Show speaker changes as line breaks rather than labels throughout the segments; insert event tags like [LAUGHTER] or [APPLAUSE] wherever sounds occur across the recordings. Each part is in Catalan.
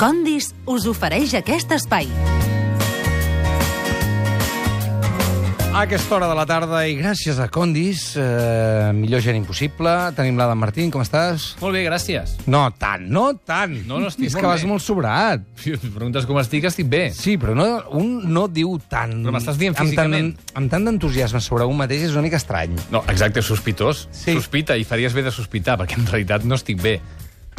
Condis us ofereix aquest espai.
A aquesta hora de la tarda i gràcies a Condis, eh, millor gent impossible, tenim l'Adam Martín, com estàs?
Molt bé, gràcies.
No tant, no tant.
No, no, estic
És
molt
que vas
bé.
molt sobrat.
Si em preguntes com estic, estic bé.
Sí, però no, un no diu tant.
Però m'estàs dient
Amb tant-
físicament.
Amb tant d'entusiasme sobre un mateix és una mica estrany.
No, exacte, sospitós.
Sí.
Sospita, i faries bé de sospitar, perquè en realitat no estic bé.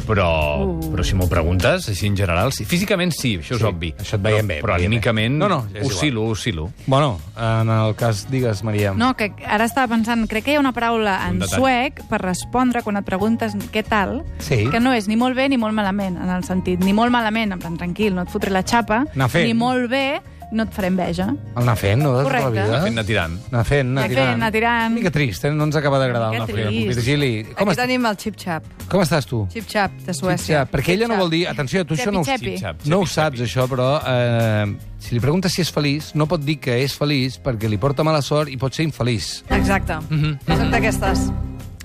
Però, uh. però si m'ho preguntes, així en general, sí. físicament sí, això és
Sí,
obvi.
això et veiem
però,
bé,
Però
veiem bé.
anímicament
No, no, és igual.
oscil·lo, oscil·lo.
Bueno, en el cas, digues, Maria.
No, que ara estava pensant, crec que hi ha una paraula
Un
en
detall.
suec per respondre quan et preguntes què tal,
Sí.
que no és ni molt bé ni molt malament, en el sentit, ni molt malament, en plan, tranquil, no et fotré la xapa,
Anar fent.
ni molt bé, no et faré enveja.
El anar fent, no? De tota
Correcte.
La
Anar fent,
vida.
anar tirant.
Anar fent, anar
Anar fent,
tirant.
anar tirant.
Una mica trist, eh? No ens acaba d'agradar
Una
anar
mica
fent.
trist.
Virgili, com,
Aquí
est...
tenim el xip-xap.
com estàs tu?
Xip-xap de
Xip-xap.
Suècia.
Perquè ella no
Xip-xap.
vol dir... Atenció, tu això no ho
Xepi-xepi.
Xip, xap,
No ho
xepi,
saps,
xepi.
això, però eh, si li preguntes si és feliç, no pot dir que és feliç perquè li porta mala sort i pot ser infeliç.
Exacte.
Mhm,
Són d'aquestes.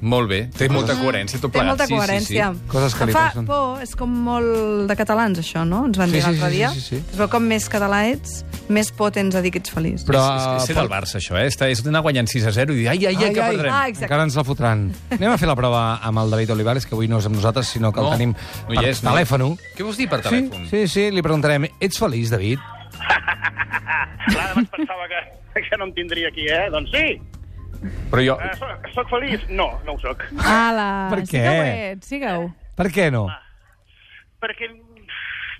Molt bé. Té molta coherència, tot
Té
plegat.
molta
Sí, sí,
coherència.
Sí,
Coses que
Em
li
fa
passen.
por, és com molt de catalans, això, no? Ens van
Sí,
dir
sí,
l'altre
sí,
dia.
sí, sí, sí.
Es veu com més català ets, més pot ens a dir que ets feliç.
Però,
És, és, és ser del Barça, això, eh? Està, és anar guanyant 6 a 0 i dir, ai, ai, ai, ai que perdrem.
ai. Ah, exacte.
encara ens la fotran. Anem a fer la prova amb el David Olivares, que avui no és amb nosaltres, sinó que el tenim
no hi
per
és, no.
telèfon.
Què vols dir per
Sí,
telèfon?
sí, sí, li preguntarem, ets feliç, David?
Clar, abans pensava que, que [LAUGHS] no em tindria aquí, eh? Doncs sí,
Però jo...
eh, soc, soc feliç? No, no ho soc.
Ala,
[LAUGHS] Per
sí que ho
què?
ets, sí que ho.
Per què no?
Ah, Perquè,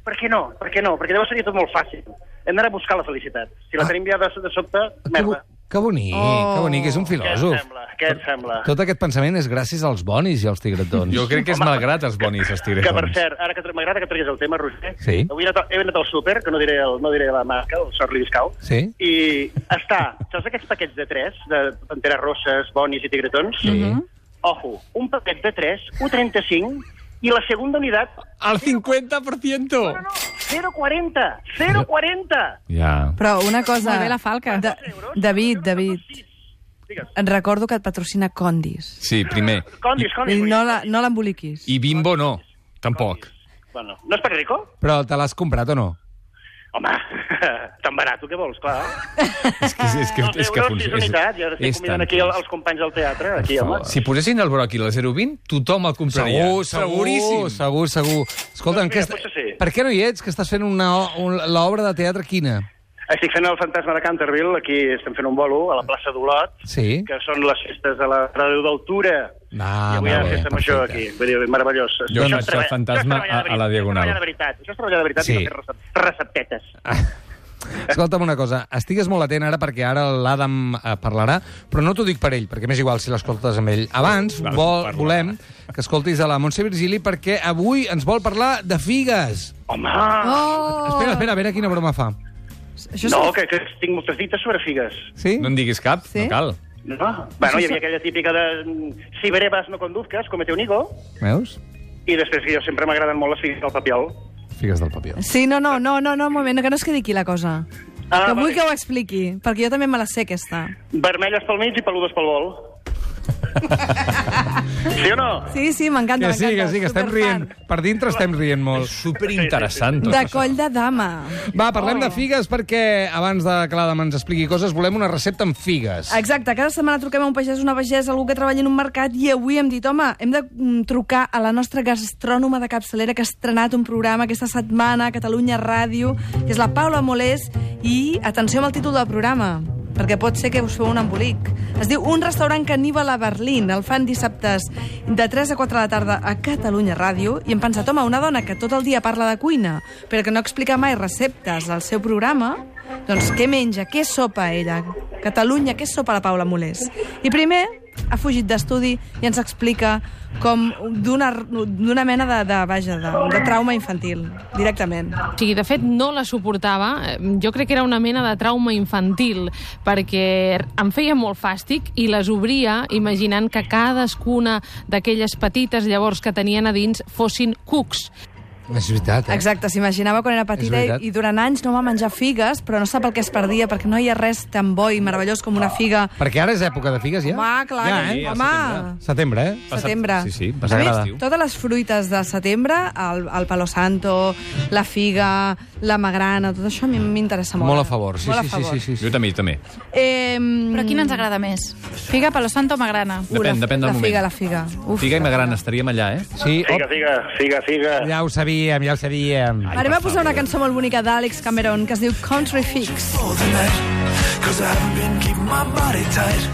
perquè no, perquè no, perquè llavors seria tot molt fàcil. Hem d'anar a buscar la felicitat. Si la
Ah.
tenim ja de, de sobte,
Que, bo-
merda.
que bonic, oh. que bonic, és un
Què et
filòsof.
sembla? Què et sembla?
Tot aquest pensament és gràcies als bonis i als tigretons.
Jo crec que és malgrat els bonis, els tigres.
Que, per cert, ara que tra- m'agrada que treguis el tema, Roger,
Sí.
avui he anat, al- he anat al súper, que no diré, el, no diré la marca, el Sorry Discau,
Sí.
i està, saps aquests paquets de tres, de panteres rosses, bonis i tigretons?
Sí.
Ojo, un paquet de tres, 1,35, i la segunda unitat
Al 50%!
No, no, 0,40. 0,40.
Ja.
Però una cosa...
Molt bé, la falca.
Da David, David,
Digues.
et recordo que et patrocina Condis.
Sí, primer.
Condis,
I
condis.
no la- no l'emboliquis.
I bimbo no, tampoc.
Bueno, no és per rico?
Però te l'has comprat o no?
Home, [LAUGHS] tan barat, què vols, clar.
És que, és que,
Dos euros, sis unitats, i ara estic convidant aquí el- els companys del teatre, aquí, home.
Si posessin el broc i la 020, tothom el compraria. Seguríssim.
segur, segur. Escolta,
Doncs mira,
que
potser sí.
per què no hi ets? Que estàs fent una, o- un, l'obra de teatre quina?
Estic fent el fantasma de Canterville, aquí estem fent un bolo a la plaça d'Olot,
Sí.
que són les festes de la Déu d'Altura.
Ah,
I avui hi ha
molt bé,
festa major
perfecte.
aquí. Vull dir, meravellós.
Jo
Això
no,
és
això
treball-
el fantasma
això és treballar de
a- a la
veritat,
Diagonal. Ah.
Això és treballar de veritat, això és treballar de veritat
Sí.
i no fer recep- receptetes.
Escolta'm una cosa, estigues molt atent ara perquè ara l'Adam eh, parlarà, però no t'ho dic per ell, perquè m'és igual si l'escoltes amb ell. Abans
Val,
vol,
parla.
volem que escoltis a la Montse Virgili perquè avui ens vol parlar de figues.
Home,
Ah,
Espera, espera, a veure quina broma fa.
Oh! Això
no, que, que tinc moltes dites sobre figues.
Sí?
No en diguis cap,
Sí?
no cal.
No? Bueno, hi havia aquella típica de "Mm, si berebas no conduzcas, comete un higo,
Veus?
i després que jo sempre m'agraden molt les figues del papiol.
Figues del papiol.
Sí, no, no, no, no, no, un moment, que no es quedi aquí la cosa.
Ah,
que vull
vale.
que ho expliqui, perquè jo també me la sé, aquesta.
Vermelles pel mig i peludes pel vol.
[LAUGHS]
sí o no?
Sí, sí, m'encanta,
Que
m'encanta.
sí, que sí, que estem
superfan.
rient. Per dintre estem rient molt.
Superinteressant. tot
De
això.
coll de dama.
Va, parlem de figues perquè abans de que l'Adam ens expliqui coses volem una recepta amb figues.
Exacte, cada setmana truquem a un pagès, una pagès, algú que treballa en un mercat, i avui hem dit, home, hem de mm, trucar a la nostra gastrònoma de capçalera que ha estrenat un programa aquesta setmana a Catalunya Ràdio, que és la Paula Molés, i atenció amb el títol del programa, perquè pot ser que us feu un embolic. Es diu Un restaurant caníbal a Berlín. El fan dissabtes de 3 a 4 de la tarda a Catalunya Ràdio i hem pensat, home, una dona que tot el dia parla de cuina, però que no explica mai receptes al seu programa, doncs què menja, què sopa ella? Catalunya, què sopa la Paula Molés? I primer ha fugit d'estudi i ens explica com d'una d'una mena de, de, vaja, de, de trauma infantil, directament.
O sigui, de fet, no la suportava. Eh, Jo crec que era una mena de trauma infantil, perquè em feia molt fàstic i les obria imaginant que cadascuna d'aquelles petites llavors que tenien a dins fossin cucs.
És veritat, eh?
Exacte, s'imaginava quan era petita
És
i,
veritat.
i durant anys no va menjar figues, però no sap el que es perdia, perquè no hi ha res tan bo i meravellós com
Oh.
una figa.
Perquè ara és època de figues, ja?
Home, clar,
ja,
que-
eh?
home,
Setembre, eh?
Passat-
setembre.
Sí, sí,
passat
A més,
estiu.
totes les fruites de setembre, el, el palo santo, la figa, la magrana, tot això a mi m'interessa molt.
Molt a favor, sí,
Molt a
sí, sí,
favor.
sí, sí, sí.
Jo també, també.
Eh,
Però quina ens agrada més? Figa, palo santo o magrana?
Depèn, depèn del
la
moment.
figa, la figa. Uf.
Figa i Magrana, estaríem allà, eh?
Sí,
Figa,
op,
figa, figa, figa.
ja ho sabíem, ja ho sabíem.
Ai,
Ara
per
va posar una
favor.
cançó molt bonica d'Àlex Cameron que es diu Country Fix.
for the night. Cause I haven't been keeping my body tight.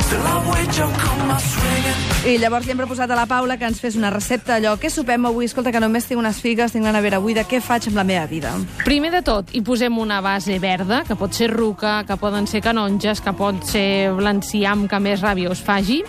Still I wait, jump, come my swinging.
I llavors li hem proposat a la Paula que ens fes una recepta d'allò. Què sopem avui? Escolta, que només tinc unes figues, tinc la nevera buida. Què faig amb la meva vida?
Primer de tot, hi posem una base verda, que pot ser ruca, que poden ser canonges, que pot ser blanciam, que més ràbia us faci.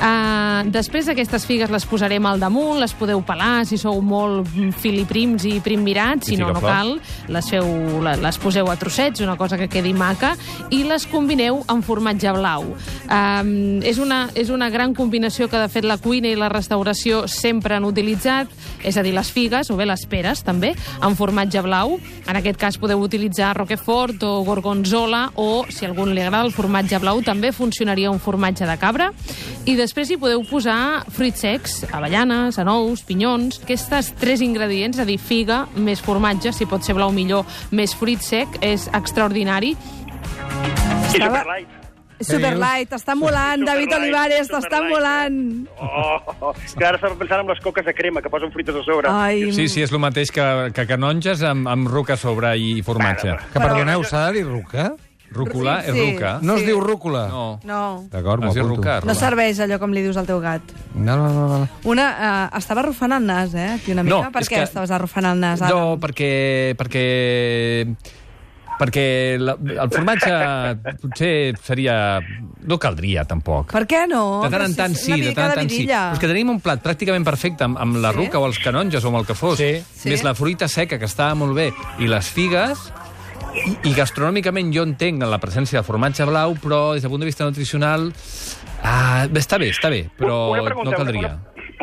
Uh, després aquestes figues les posarem al damunt, les podeu pelar si sou molt mm, filiprims i primmirats,
I
si no, no
ficaflors.
cal. Les, feu, le- les poseu a trossets, una cosa que quedi maca, i les combineu amb formatge blau. Um, és, una, és una gran combinació que, de fet, la cuina i la restauració sempre han utilitzat, és a dir, les figues o bé les peres, també, amb formatge blau. En aquest cas podeu utilitzar roquefort o gorgonzola o, si a algun li agrada el formatge blau, també funcionaria un formatge de cabra. I després hi podeu posar fruits secs, avellanes, anous, pinyons... Aquestes tres ingredients, és a dir, figa, més formatge, si pot ser blau millor, més fruit sec, és extraordinari.
I Superlight.
Superlight, t'està molant, David
Superlight,
Olivares, t'està
Superlight.
molant.
Oh, oh, és que ara estava pensant en les coques de crema que posen fruites a sobre.
Ai,
Sí, sí, és el mateix que, que canonges amb, amb ruca a sobre i formatge.
Bueno,
Que, perdoneu, s'ha de dir ruca?
Rúcula
Sí,
és
sí.
ruca.
No es
Sí.
diu rúcula?
No.
no.
D'acord, m'ho
Es diu
apunto.
ruca.
No serveix allò com li dius al teu gat.
No, no, no, no.
Una, eh, estava arrufant el nas, eh, aquí una mica.
No,
per
és
què
que-
estaves arrufant el nas? ara?
No, perquè... perquè perquè la, el formatge potser seria... No caldria, tampoc.
Per què no?
De tant en
Però
tant
és
sí,
una
de
mica
tant en tant sí.
virilla.
Però és que tenim un plat pràcticament perfecte amb, amb la
Sí?
ruca o els canonges o amb el que fos.
Sí.
Més la fruita seca, que estava molt bé, i les figues... I, I gastronòmicament jo entenc la presència del formatge blau, però des del punt de vista nutricional... Ah, bé, està bé, està bé, però
Una
no caldria.
Una,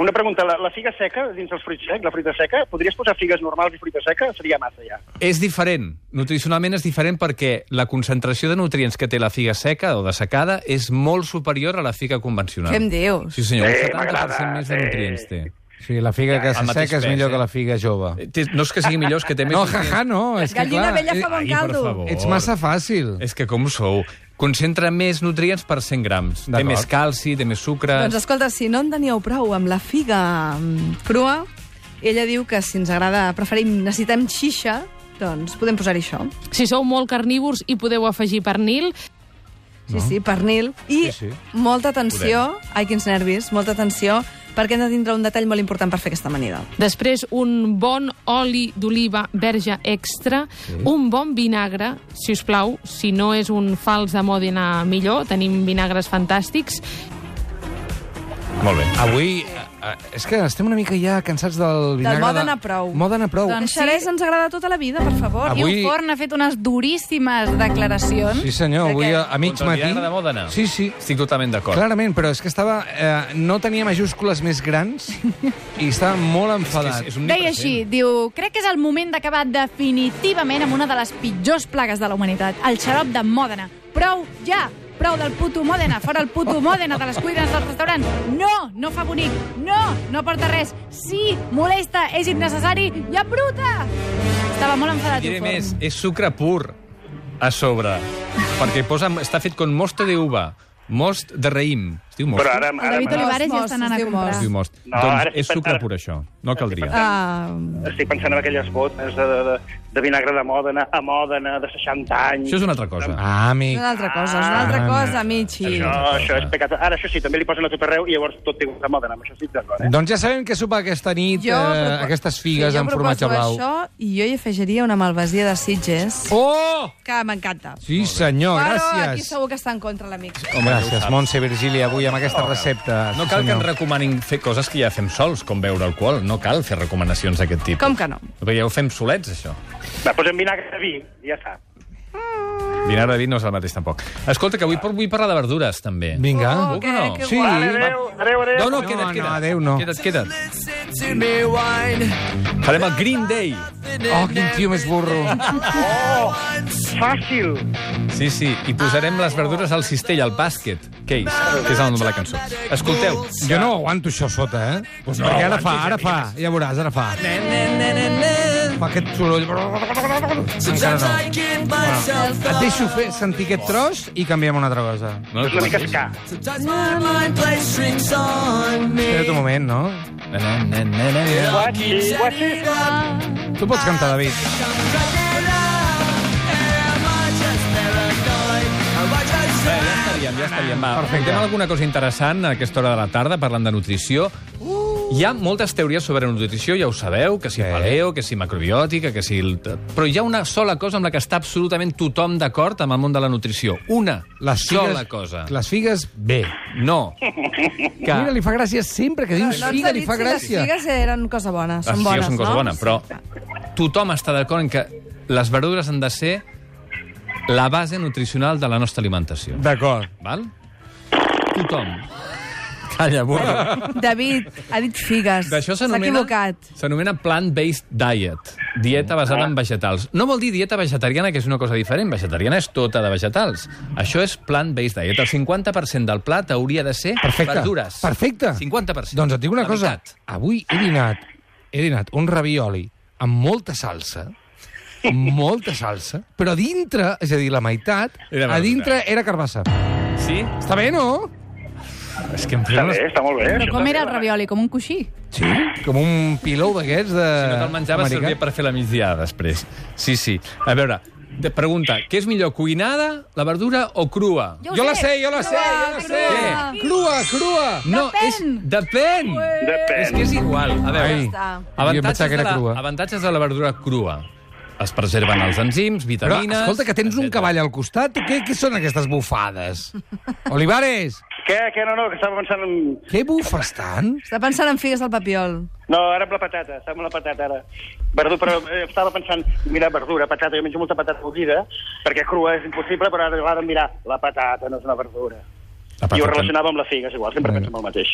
una pregunta, la, la figa seca, dins els fruits secs, la fruita seca, podries posar figues normals i fruita seca? Seria massa, ja.
És diferent. Nutricionalment és diferent perquè la concentració de nutrients que té la figa seca o dessecada és molt superior a la figa convencional.
Què em dius?
Sí, senyor,
Sí,
un 70%
m'agrada,
més de
sí.
nutrients té.
Sí, la figa que
El
se
mateix
seca és
pes,
millor
eh?
que la figa jove.
Eh, té- No és que sigui millor, és que
[LAUGHS]
té més
No,
nutrients.
jaja, no, és que
Gallina
clar...
vella fa
eh,
bon
ai, per
caldo.
favor.
Ets massa fàcil.
És que com sou? Concentra més nutrients per 100 grams. Té
D'acord.
més calci, té més sucre...
Doncs escolta, si no en teníeu prou amb la figa mm, crua, ella diu que si ens agrada, preferim, necessitem xixa, doncs podem posar-hi això.
Si sou molt carnívors i podeu afegir pernil,
Sí, sí, pernil. I
Sí, sí.
molta atenció, ai, quins nervis, molta atenció, perquè hem de tindre un detall molt important per fer aquesta amanida.
Després, un bon oli d'oliva verge extra, sí. un bon vinagre, si us plau, si no és un fals de Mòdena millor, tenim vinagres fantàstics,
Molt bé.
Avui... eh, És que estem una mica ja cansats del vinagre...
moda anar prou.
Moda anar prou.
En
Doncs sí.
xerès ens agrada tota la vida, per favor.
Avui-
Avui... I Forn ha fet unes duríssimes declaracions.
Sí, senyor, avui a, a mig
Contra el
matí...
vinagre de Mòdena.
Sí, sí.
Estic totalment d'acord.
Clarament, però és que estava... Eh, no tenia majúscules més
[LAUGHS]
grans i estava molt enfadat.
És, és un
Deia així, diu, crec que és el moment d'acabar definitivament amb una de les pitjors plagues de la humanitat, el xarop de Mòdena. Prou ja! Prou del puto Mòdena, fora el puto Mòdena de les cuines dels restaurants. No, no fa bonic. No, no porta res. Sí, molesta, és innecessari i embruta! Estava molt enfadat.
Diré
Forn.
més, és sucre pur a sobre, perquè posa, està fet con mosto de uva, most de raïm. Es diu most?
Però ara...
El
ara
David Olivares ja
Mos,
està anant a
es diu
comprar.
mos.
Es diu most.
No, ara
doncs
sí
és
que-
sucre
ara-
pur, això. No caldria.
Ah,
Uh,
estic pensant en aquelles botes de, de, de, de vinagre de Mòdena, a Mòdena, de 60 anys.
Això és una altra cosa.
Ah, amic.
una altra cosa, és una altra
Ah,
cosa, Michi.
Això, això és pecat. Ara, això sí, també li posen a tot arreu i llavors tot té gust a Mòdena. Amb això sí, d'acord, eh?
Doncs ja sabem què sopar aquesta nit, eh,
proposo-
aquestes figues
sí, jo
amb formatge blau.
proposo això i jo hi afegiria una malvasia de Sitges,
Oh!
que m'encanta.
Sí, senyor,
Però aquí
gràcies.
segur que està en contra l'amic.
Home, gràcies, Montse Virgili, avui amb aquesta recepta.
No
Sí,
cal
Ah,
que
senyor.
ens recomanin fer coses que ja fem sols, com beure alcohol. No cal fer recomanacions d'aquest tipus.
Com que no?
Perquè ja ho fem solets, això.
Va, posem vinagre de vi i ja està.
Dinar de vi no és el mateix, tampoc. Escolta, que avui por- vull parlar de verdures, també.
Vinga.
Segur que no?
Oh, que
sí.
Vale, adéu, adéu, adéu.
No, no,
No,
queda't,
no,
queda't.
adéu, no.
Queda't, queda't.
Listen to me whine.
Farem el Green Day.
Oh, quin tio més burro.
Fàcil.
Sí, sí, i posarem les verdures al cistell, al bàsquet. Case, que és el nom de la cançó. Escolteu,
Jo no aguanto això sota, eh? Pues no, perquè ara fa, ara fa. Ja veuràs, ara fa. Fa aquest soroll. Encara
Sometimes
no.
I give myself
Et
up.
deixo fer, sentir aquest tros i canviem una altra cosa.
No,
És una mica escar.
Sometimes my mind plays strings on me.
Espera't un moment, no?
Na, na, na, na, na, na.
Guachi, guachi.
Tu pots cantar, David.
Bé, ja estaríem, ja estaríem. Va,
Perfecte.
Perfecte. alguna cosa interessant a aquesta hora de la tarda, parlant de nutrició. Hi ha moltes teories sobre nutrició, ja ho sabeu, que si
Sí.
paleo, que si macrobiòtica, que si... el- Però hi ha una sola cosa amb la que està absolutament tothom d'acord amb el món de la nutrició. Una
Les figues,
sola cosa.
Les figues, bé.
No.
Que... Mira, li fa gràcia sempre que dius
No ens
figa,
ha
li
dit
fa
Doncs si les
gràcia.
figues eren cosa bona, són
Les figues
bones,
Ah, són cosa
no?
bona, però tothom està d'acord en que les verdures han de ser la base nutricional de la nostra alimentació.
D'acord.
Val? Tothom. Calla, burro.
David, ha dit figues.
D'això
S'ha
s'anomena...
equivocat.
S'anomena plant-based diet, dieta basada en vegetals. No vol dir dieta vegetariana, que és una cosa diferent. Vegetariana és tota de vegetals. Això és plant-based diet. El 50% del plat hauria de ser
Perfecte.
verdures.
Perfecte.
50%.
Doncs et dic una
La
cosa.
meitat.
Avui he dinat, he dinat un ravioli amb molta salsa, molta salsa, però a dintre, és a dir, la meitat,
Era
a dintre era carbassa.
Sí?
Està bé, no?
És que em
Està
fem
bé, està molt bé.
Però
això
com
està
era el
bé.
ravioli? Com un coixí?
Sí. Com un pilou d'aquests de...
Si no te'l menjaves,
Eh, americà.
servia per fer la migdiada després. Sí, sí. A veure, de pregunta, què és millor, cuinada, la verdura o crua?
Jo ho
Jo la
sé.
sé, jo la sé, jo la sé. Crua, crua.
No,
Depèn.
és... Depèn!
Depèn.
És que és igual. A veure,
Ai. Jo em
avantatges,
pensava que
de
era
la,
crua.
avantatges de la verdura crua. Es preserven els enzims,
Però,
vitamines...
escolta, que tens un
etcètera.
cavall al costat, què, què són aquestes
[LAUGHS]
bufades? Olivares,
Què, què, no, no, que estava pensant en...
què bufes tant?
Està pensant en figues del papiol.
No, ara amb la patata, estava amb la patata, ara. Verdura, però eh, estava pensant, mira, verdura, patata, jo menjo molta patata bullida, perquè crua és impossible, però ara l'ha de mirar, la patata no és una verdura.
Ah,
La
I ho
patata.
relacionava amb la figa, és igual, sempre penso en el mateix.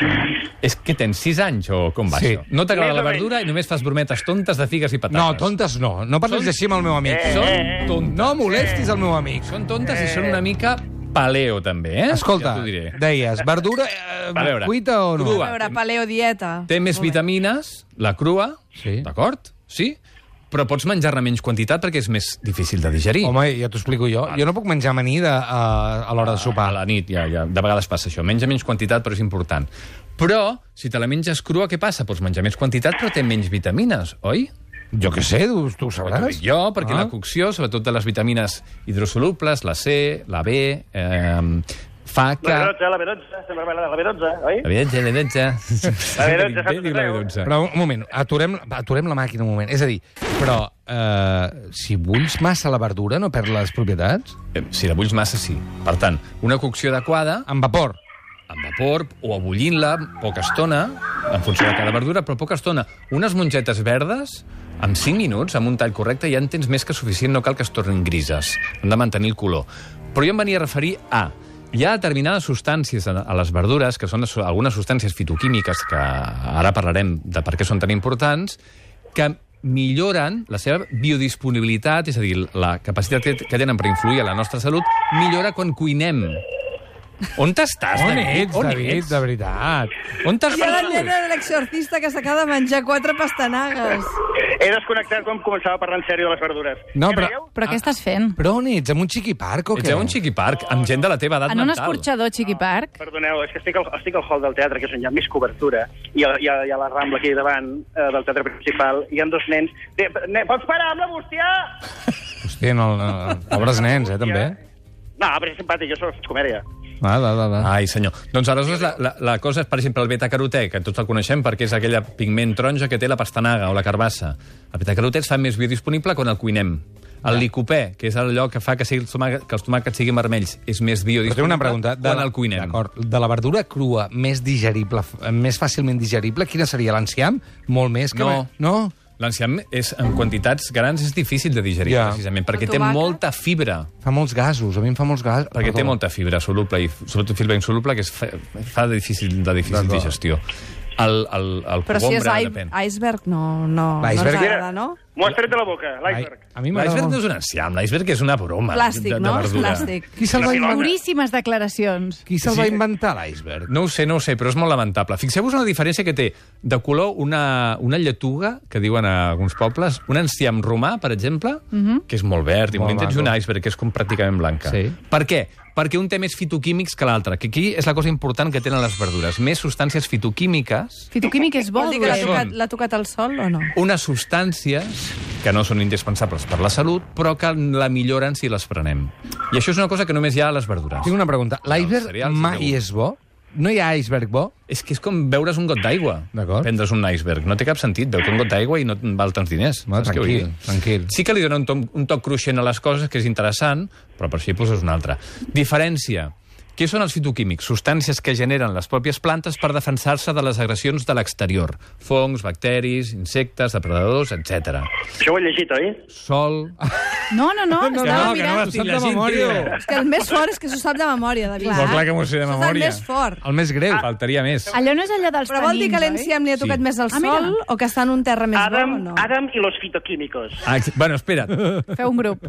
És que tens 6 anys o com va
Sí.
això? No t'agrada la
Més o menys.
verdura i només fas brometes tontes de figues i patates.
No, tontes no. No parlis
Són-
així amb el meu amic.
Eh,
Són
eh,
tontes.
No molestis el meu amic.
Són tontes i són una mica paleo, també, eh?
Escolta,
Ja t'ho diré.
deies, verdura eh,
A veure,
cuita o no?
crua.
A veure, paleodieta.
Ah, Té més vitamines, la crua,
Sí.
d'acord? Sí. Però pots menjar-ne menys quantitat perquè és més difícil de digerir.
Home, ja t'ho explico jo. Jo no puc menjar amanida a, a l'hora de
a
sopar.
la nit, ja, ja, de vegades passa això. Menja menys quantitat, però és important. Però, si te la menges crua, què passa? Pots menjar més quantitat, però té menys vitamines, oi?
Jo què sé, tu, tu ho
Ho
sabràs.
dic jo, perquè
Ah.
la cocció, sobretot de les vitamines hidrosolubles, la C, la B, eh, fa que...
La B12, la B12, sempre va la la B12, oi?
La B12, la B12...
La B12, saps
Diu la
què
B12.
Però un moment, aturem, aturem la màquina un moment. És a dir, però eh, si bulls massa la verdura no perd les propietats?
Eh, Si la bulls massa, sí. Per tant, una cocció adequada
En vapor.
amb vapor o abollint-la poca estona, en funció de cada verdura, però poca estona. Unes mongetes verdes, amb 5 minuts, amb un tall correcte, ja en tens més que suficient, no cal que es tornin grises. Han de mantenir el color. Però jo em venia a referir a... Hi ha determinades substàncies a a les verdures, que són les- algunes substàncies fitoquímiques, que ara parlarem de per què són tan importants, que milloren la seva biodisponibilitat, és a dir, la capacitat que- que tenen per influir a la nostra salut, millora quan cuinem. On t'estàs,
On
David?
ets, David, de veritat?
On t'has
I ara
perdut?
nena l'exorcista que s'acaba de menjar quatre pastanagues.
He desconnectat quan començava a parlar en sèrio de les verdures.
No,
Què
però-
dèieu?
Però què estàs fent?
Però on ets? Amb un xiquiparc o què?
Ets a un xiqui parc amb gent de la teva edat
En un
mental.
escorxador, Chiqui Park?
Perdoneu, és que estic al, estic al hall del teatre, que és on hi ha més cobertura, i a, i a, i a la Rambla, aquí davant eh, del teatre principal, hi ha dos nens... De, ne, pots parar amb la bústia?
Hòstia, no, no, pobres nens, eh, també.
No, però és simpàtic, jo sóc comèdia.
Va, va, va. va.
Ai, senyor. Doncs aleshores la, la, la cosa és, per exemple, el betacarotè, que tots el coneixem perquè és aquella pigment taronja que té la pastanaga o la carbassa. El betacarotè es fa més biodisponible quan el cuinem. El licopè, que és allò que fa que, sigui el tomàquet, que els tomàquets siguin vermells, és més
Però
biodisponible
tinc una pregunta.
quan el cuinem.
D'acord. De la verdura eh, crua més digerible, f- més fàcilment digerible, quina seria l'enciam? Molt més que...
No.
No?
L'enciam és, en quantitats grans és difícil de digerir,
Ja.
yeah. precisament, perquè
El
té
tobaca.
molta fibra.
Fa molts gasos, a mi em fa molts gasos.
Perquè té
Perdó.
molta fibra soluble i f- sobretot fibra insoluble que es fa, fa de difícil, de difícil
D'acord.
digestió. El, el, el
Però si és
cogombre,
ai-
depèn.
iceberg, no, no, no ens
Iceberg.
agrada, no?
M'ho has tret de la boca, l'iceberg.
Ai, A mi m'agrada
L'iceberg no
molt.
és un enciam, l'iceberg és una broma
Plàstic,
de, de
no? És
verdura.
plàstic.
Qui se'l va, inventar?
Duríssimes declaracions.
Qui se'l va
Sí.
inventar, l'iceberg?
No ho sé, no ho sé, però és molt lamentable. Fixeu-vos en la diferència que té de color una, una lletuga, que diuen a alguns pobles, un enciam romà, per exemple,
Mhm.
que és molt verd, i molt
Molt
intens un
maco.
iceberg, que és com pràcticament blanca.
Sí.
Per què? Perquè un té més fitoquímics que l'altre, que aquí és la cosa important que tenen les verdures. Més substàncies fitoquímiques,
Fitoquímic és bo.
Vol dir que l'ha
Què
tocat,
són?
l'ha tocat el sol o no?
unes substàncies que no són indispensables per la salut, però que la milloren si les prenem. I això és una cosa que només hi ha a les verdures.
Tinc una pregunta.
Els
L'iceberg
cereals,
mai
segur.
és bo? No hi ha iceberg bo?
És que és com beure's un got d'aigua.
D'acord.
Prendre's un iceberg. No té cap sentit. Beure un got d'aigua i no et val tants diners.
Va,
Saps què vull
tranquil,
dir?
tranquil.
Sí que li dona un, to un toc cruixent a les coses, que és interessant, però per xipos és una altra. Diferència. Què són els fitoquímics? Substàncies que generen les pròpies plantes per defensar-se de les agressions de l'exterior. Fongs, bacteris, insectes, depredadors, etc.
Això ho he llegit, oi?
Sol...
No, no, no.
no,
no, no,
que no,
mirant.
estic llegint, tio.
És que el més fort és que s'ho sap de memòria, David.
Clar. Molt clar
que m'ho sé de
Això és
memòria.
el més fort.
El més greu.
Faltaria més.
Allò no és allò dels
Però vol dir que
tanins, oi?
l'enciam li ha tocat
Sí.
més el
Ah, mira.
sol o que està en un terra més
Adam,
bo o no?
Adam i los fitoquímicos.
Ah, ex- bueno, espera't.
Feu un grup.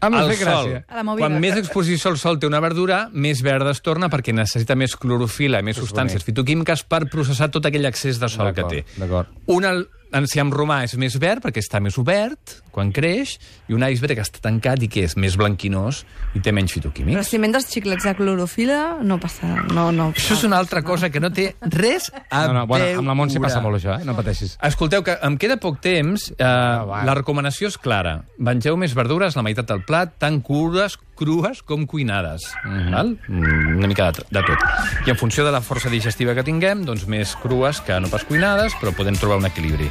Em va
El
fer
sol.
Ah, gràcia.
A la movida.
Quan més exposició al sol té una verdura, més verda es torna perquè necessita més clorofila i més substàncies fitoquímiques per processar tot aquell excés de sol que
D'acord,
té.
d'acord.
Un al- enciam romà és més verd perquè està més obert quan creix i un iceberg està tancat i que és més blanquinós i té menys
Però
fitoquímics.
si menges xiclets de clorofila, no passa... No, no.
Això és una altra cosa que no té res a
No, no, bueno, amb la Montse
veure.
passa molt això, eh? No pateixis.
Escolteu, que em queda poc temps. Eh,
va.
la recomanació és clara. Mengeu més verdures, la meitat del plat, tant cures, crues com cuinades. Mm val? Mm, Una mica de, tr- de tot. I en funció de la força digestiva que tinguem, doncs més crues que no pas cuinades, però podem trobar un equilibri.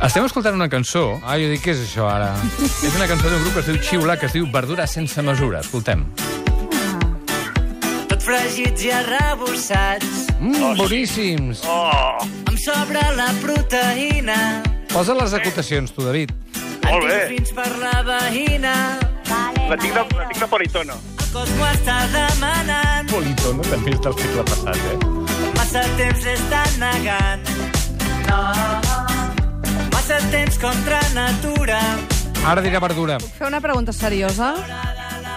Estem escoltant una cançó.
Ah, jo dic, què és això, ara?
És una cançó d'un grup que es diu Xiula, que es diu Verdura sense mesura. Escoltem.
tot fregits i arrebossats.
Mm, boníssims.
Oh,
Em sobra la proteïna,
Posa les acotacions, tu, David.
Molt bé.
en tinc fins per la veïna.
la tinc de, la tinc de politono.
El cos m'ho està demanant,
Polito, no? També és del segle passat, eh?
massa temps l'estan negant. No, massa temps contra natura.
Ara dirà verdura.
Fer una pregunta seriosa?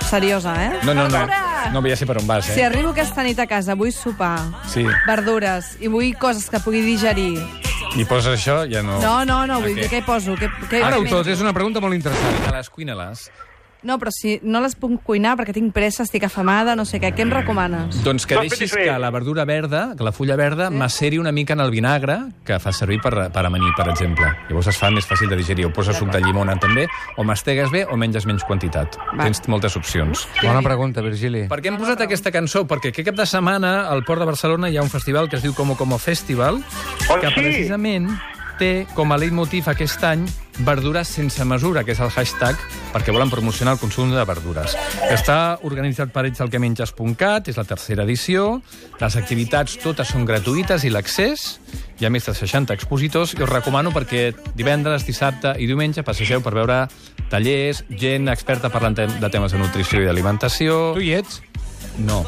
Seriosa, eh?
No, no, no.
Verdura!
No veia ser per on vas,
Si
eh?
arribo aquesta nit a casa, vull sopar,
Sí.
verdures, i vull coses que pugui digerir.
I poses això, ja no...
No, no, no, vull
Oh. Ok. Ah,
dir què hi poso. Què, què
Ara ho
menjo?
tot, és una pregunta molt interessant.
Cuina-les, cuina-les.
No, però si no les puc cuinar perquè tinc pressa, estic afamada, no sé què, què em recomanes?
Doncs que
Dos
deixis
petits
que la verdura verda, que la fulla verda, maceri una mica en el vinagre, que fa servir per, per amanir, per exemple. Llavors es fa més fàcil de digerir. O poses suc de llimona, també, o mastegues bé o menges menys quantitat.
Va.
Tens moltes opcions.
Bona pregunta, Virgili.
Per què hem posat aquesta cançó? Perquè aquest cap de setmana al Port de Barcelona hi ha un festival que es diu Como Como Festival,
Oh,
que
sí!
precisament té com a leitmotiv aquest any verdures sense mesura, que és el hashtag, perquè volen promocionar el consum de verdures. Està organitzat per ells al quemenges.cat, és la tercera edició, les activitats totes són gratuïtes i l'accés, hi ha més de 60 expositors, i us recomano perquè divendres, dissabte i diumenge passegeu per veure tallers, gent experta parlant te- de temes de nutrició i d'alimentació...
Tu hi ets?
No.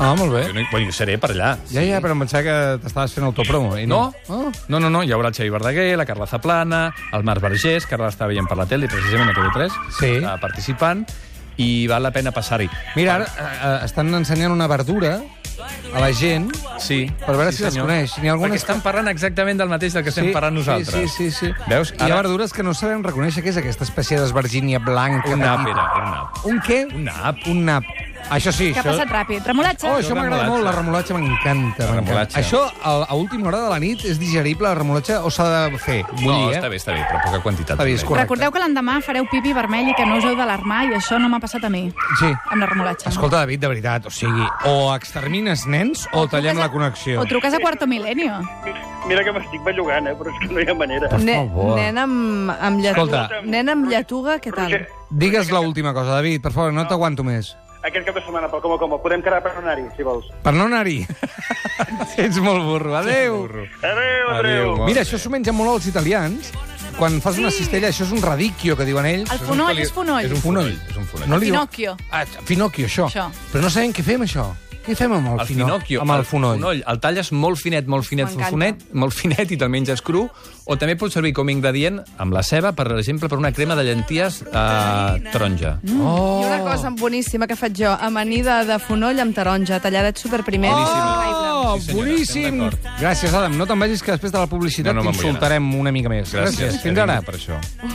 Ah, molt bé.
Jo no hi, bueno, jo seré per allà.
Ja, ja, però em pensava que t'estaves fent autopromo. I
No?
Oh.
No, no, no, hi haurà el Xavi Verdaguer, la Carla Zaplana, el Marc Vergés, que ara l'està veient per la tele, precisament a TV3,
Sí.
eh, participant, i val la pena passar-hi.
Mira, ara eh, eh, estan ensenyant una verdura a la gent
Sí,
per veure
sí,
si les
senyor.
coneix. N'hi ha algunes
Perquè estan parlant exactament del mateix del que estem parlant nosaltres.
Sí, sí, sí. sí.
Veus?
Hi ha
Ara-
verdures que no sabem reconèixer què és aquesta espècie d'esvergínia blanca.
Un nap,
petita.
era, era un nap.
Un què?
Un nap.
Un nap. Això sí,
Que ha
això...
passat ràpid. eh? Remolatxa.
Oh, això m'agrada
Remolatxa.
molt, la remolatxa m'encanta.
La
m'encanta.
remolatxa.
Això, a, a última hora de la nit, és digerible, la remolatxa, o s'ha de fer? Vull
no,
dir, eh?
està bé, està bé, però poca quantitat.
Està bé, és
també.
correcte.
Recordeu que l'endemà fareu pipi vermell i que no us heu d'alarmar i això no m'ha passat a mi.
Sí.
Amb la remolatxa.
Escolta, David, de veritat, o sigui, o extermines nens o tallem la connexió.
O truques a Quarto Milenio.
Mira que m'estic bellugant, eh? però és que no hi ha manera.
Ne
favor.
nena amb, amb lletuga.
Escolta.
Nena amb lletuga, què tal?
Roger,
Digues l'última cosa, David, per favor, no t'aguanto més.
aquest cap de setmana pel Como Como. Podem quedar per anar-hi, si vols.
Per no anar-hi.
[LAUGHS]
Ets molt burro. Adéu.
Adéu, adéu.
Mira, això s'ho mengen molt els italians. Quan fas una cistella, això és un radicchio, que diuen ells.
El fonoll és fonoll.
És un fonoll. És un fonoll.
No li diu-
Finocchio.
Ah, finocchio, això.
Això.
Però no sabem què fem, això. Què fem amb el,
El
fino-
finocchio,
Amb el fonoll.
El talles molt finet, molt finet,
M'encanta.
fofonet, molt finet i te'l menges cru. O també pot servir com a ingredient amb la ceba, per exemple, per una crema de llenties eh, taronja.
Oh. I una cosa boníssima que faig jo, amanida de fonoll amb taronja, talladet superprimer.
Oh,
Sí, senyora, estem
boníssim!
d'acord.
Gràcies, Adam. No te'n vagis, que després de la publicitat
No, no me'n vull
t'insultarem una mica més.
Gràcies, que
Fins ara.
vingut per això.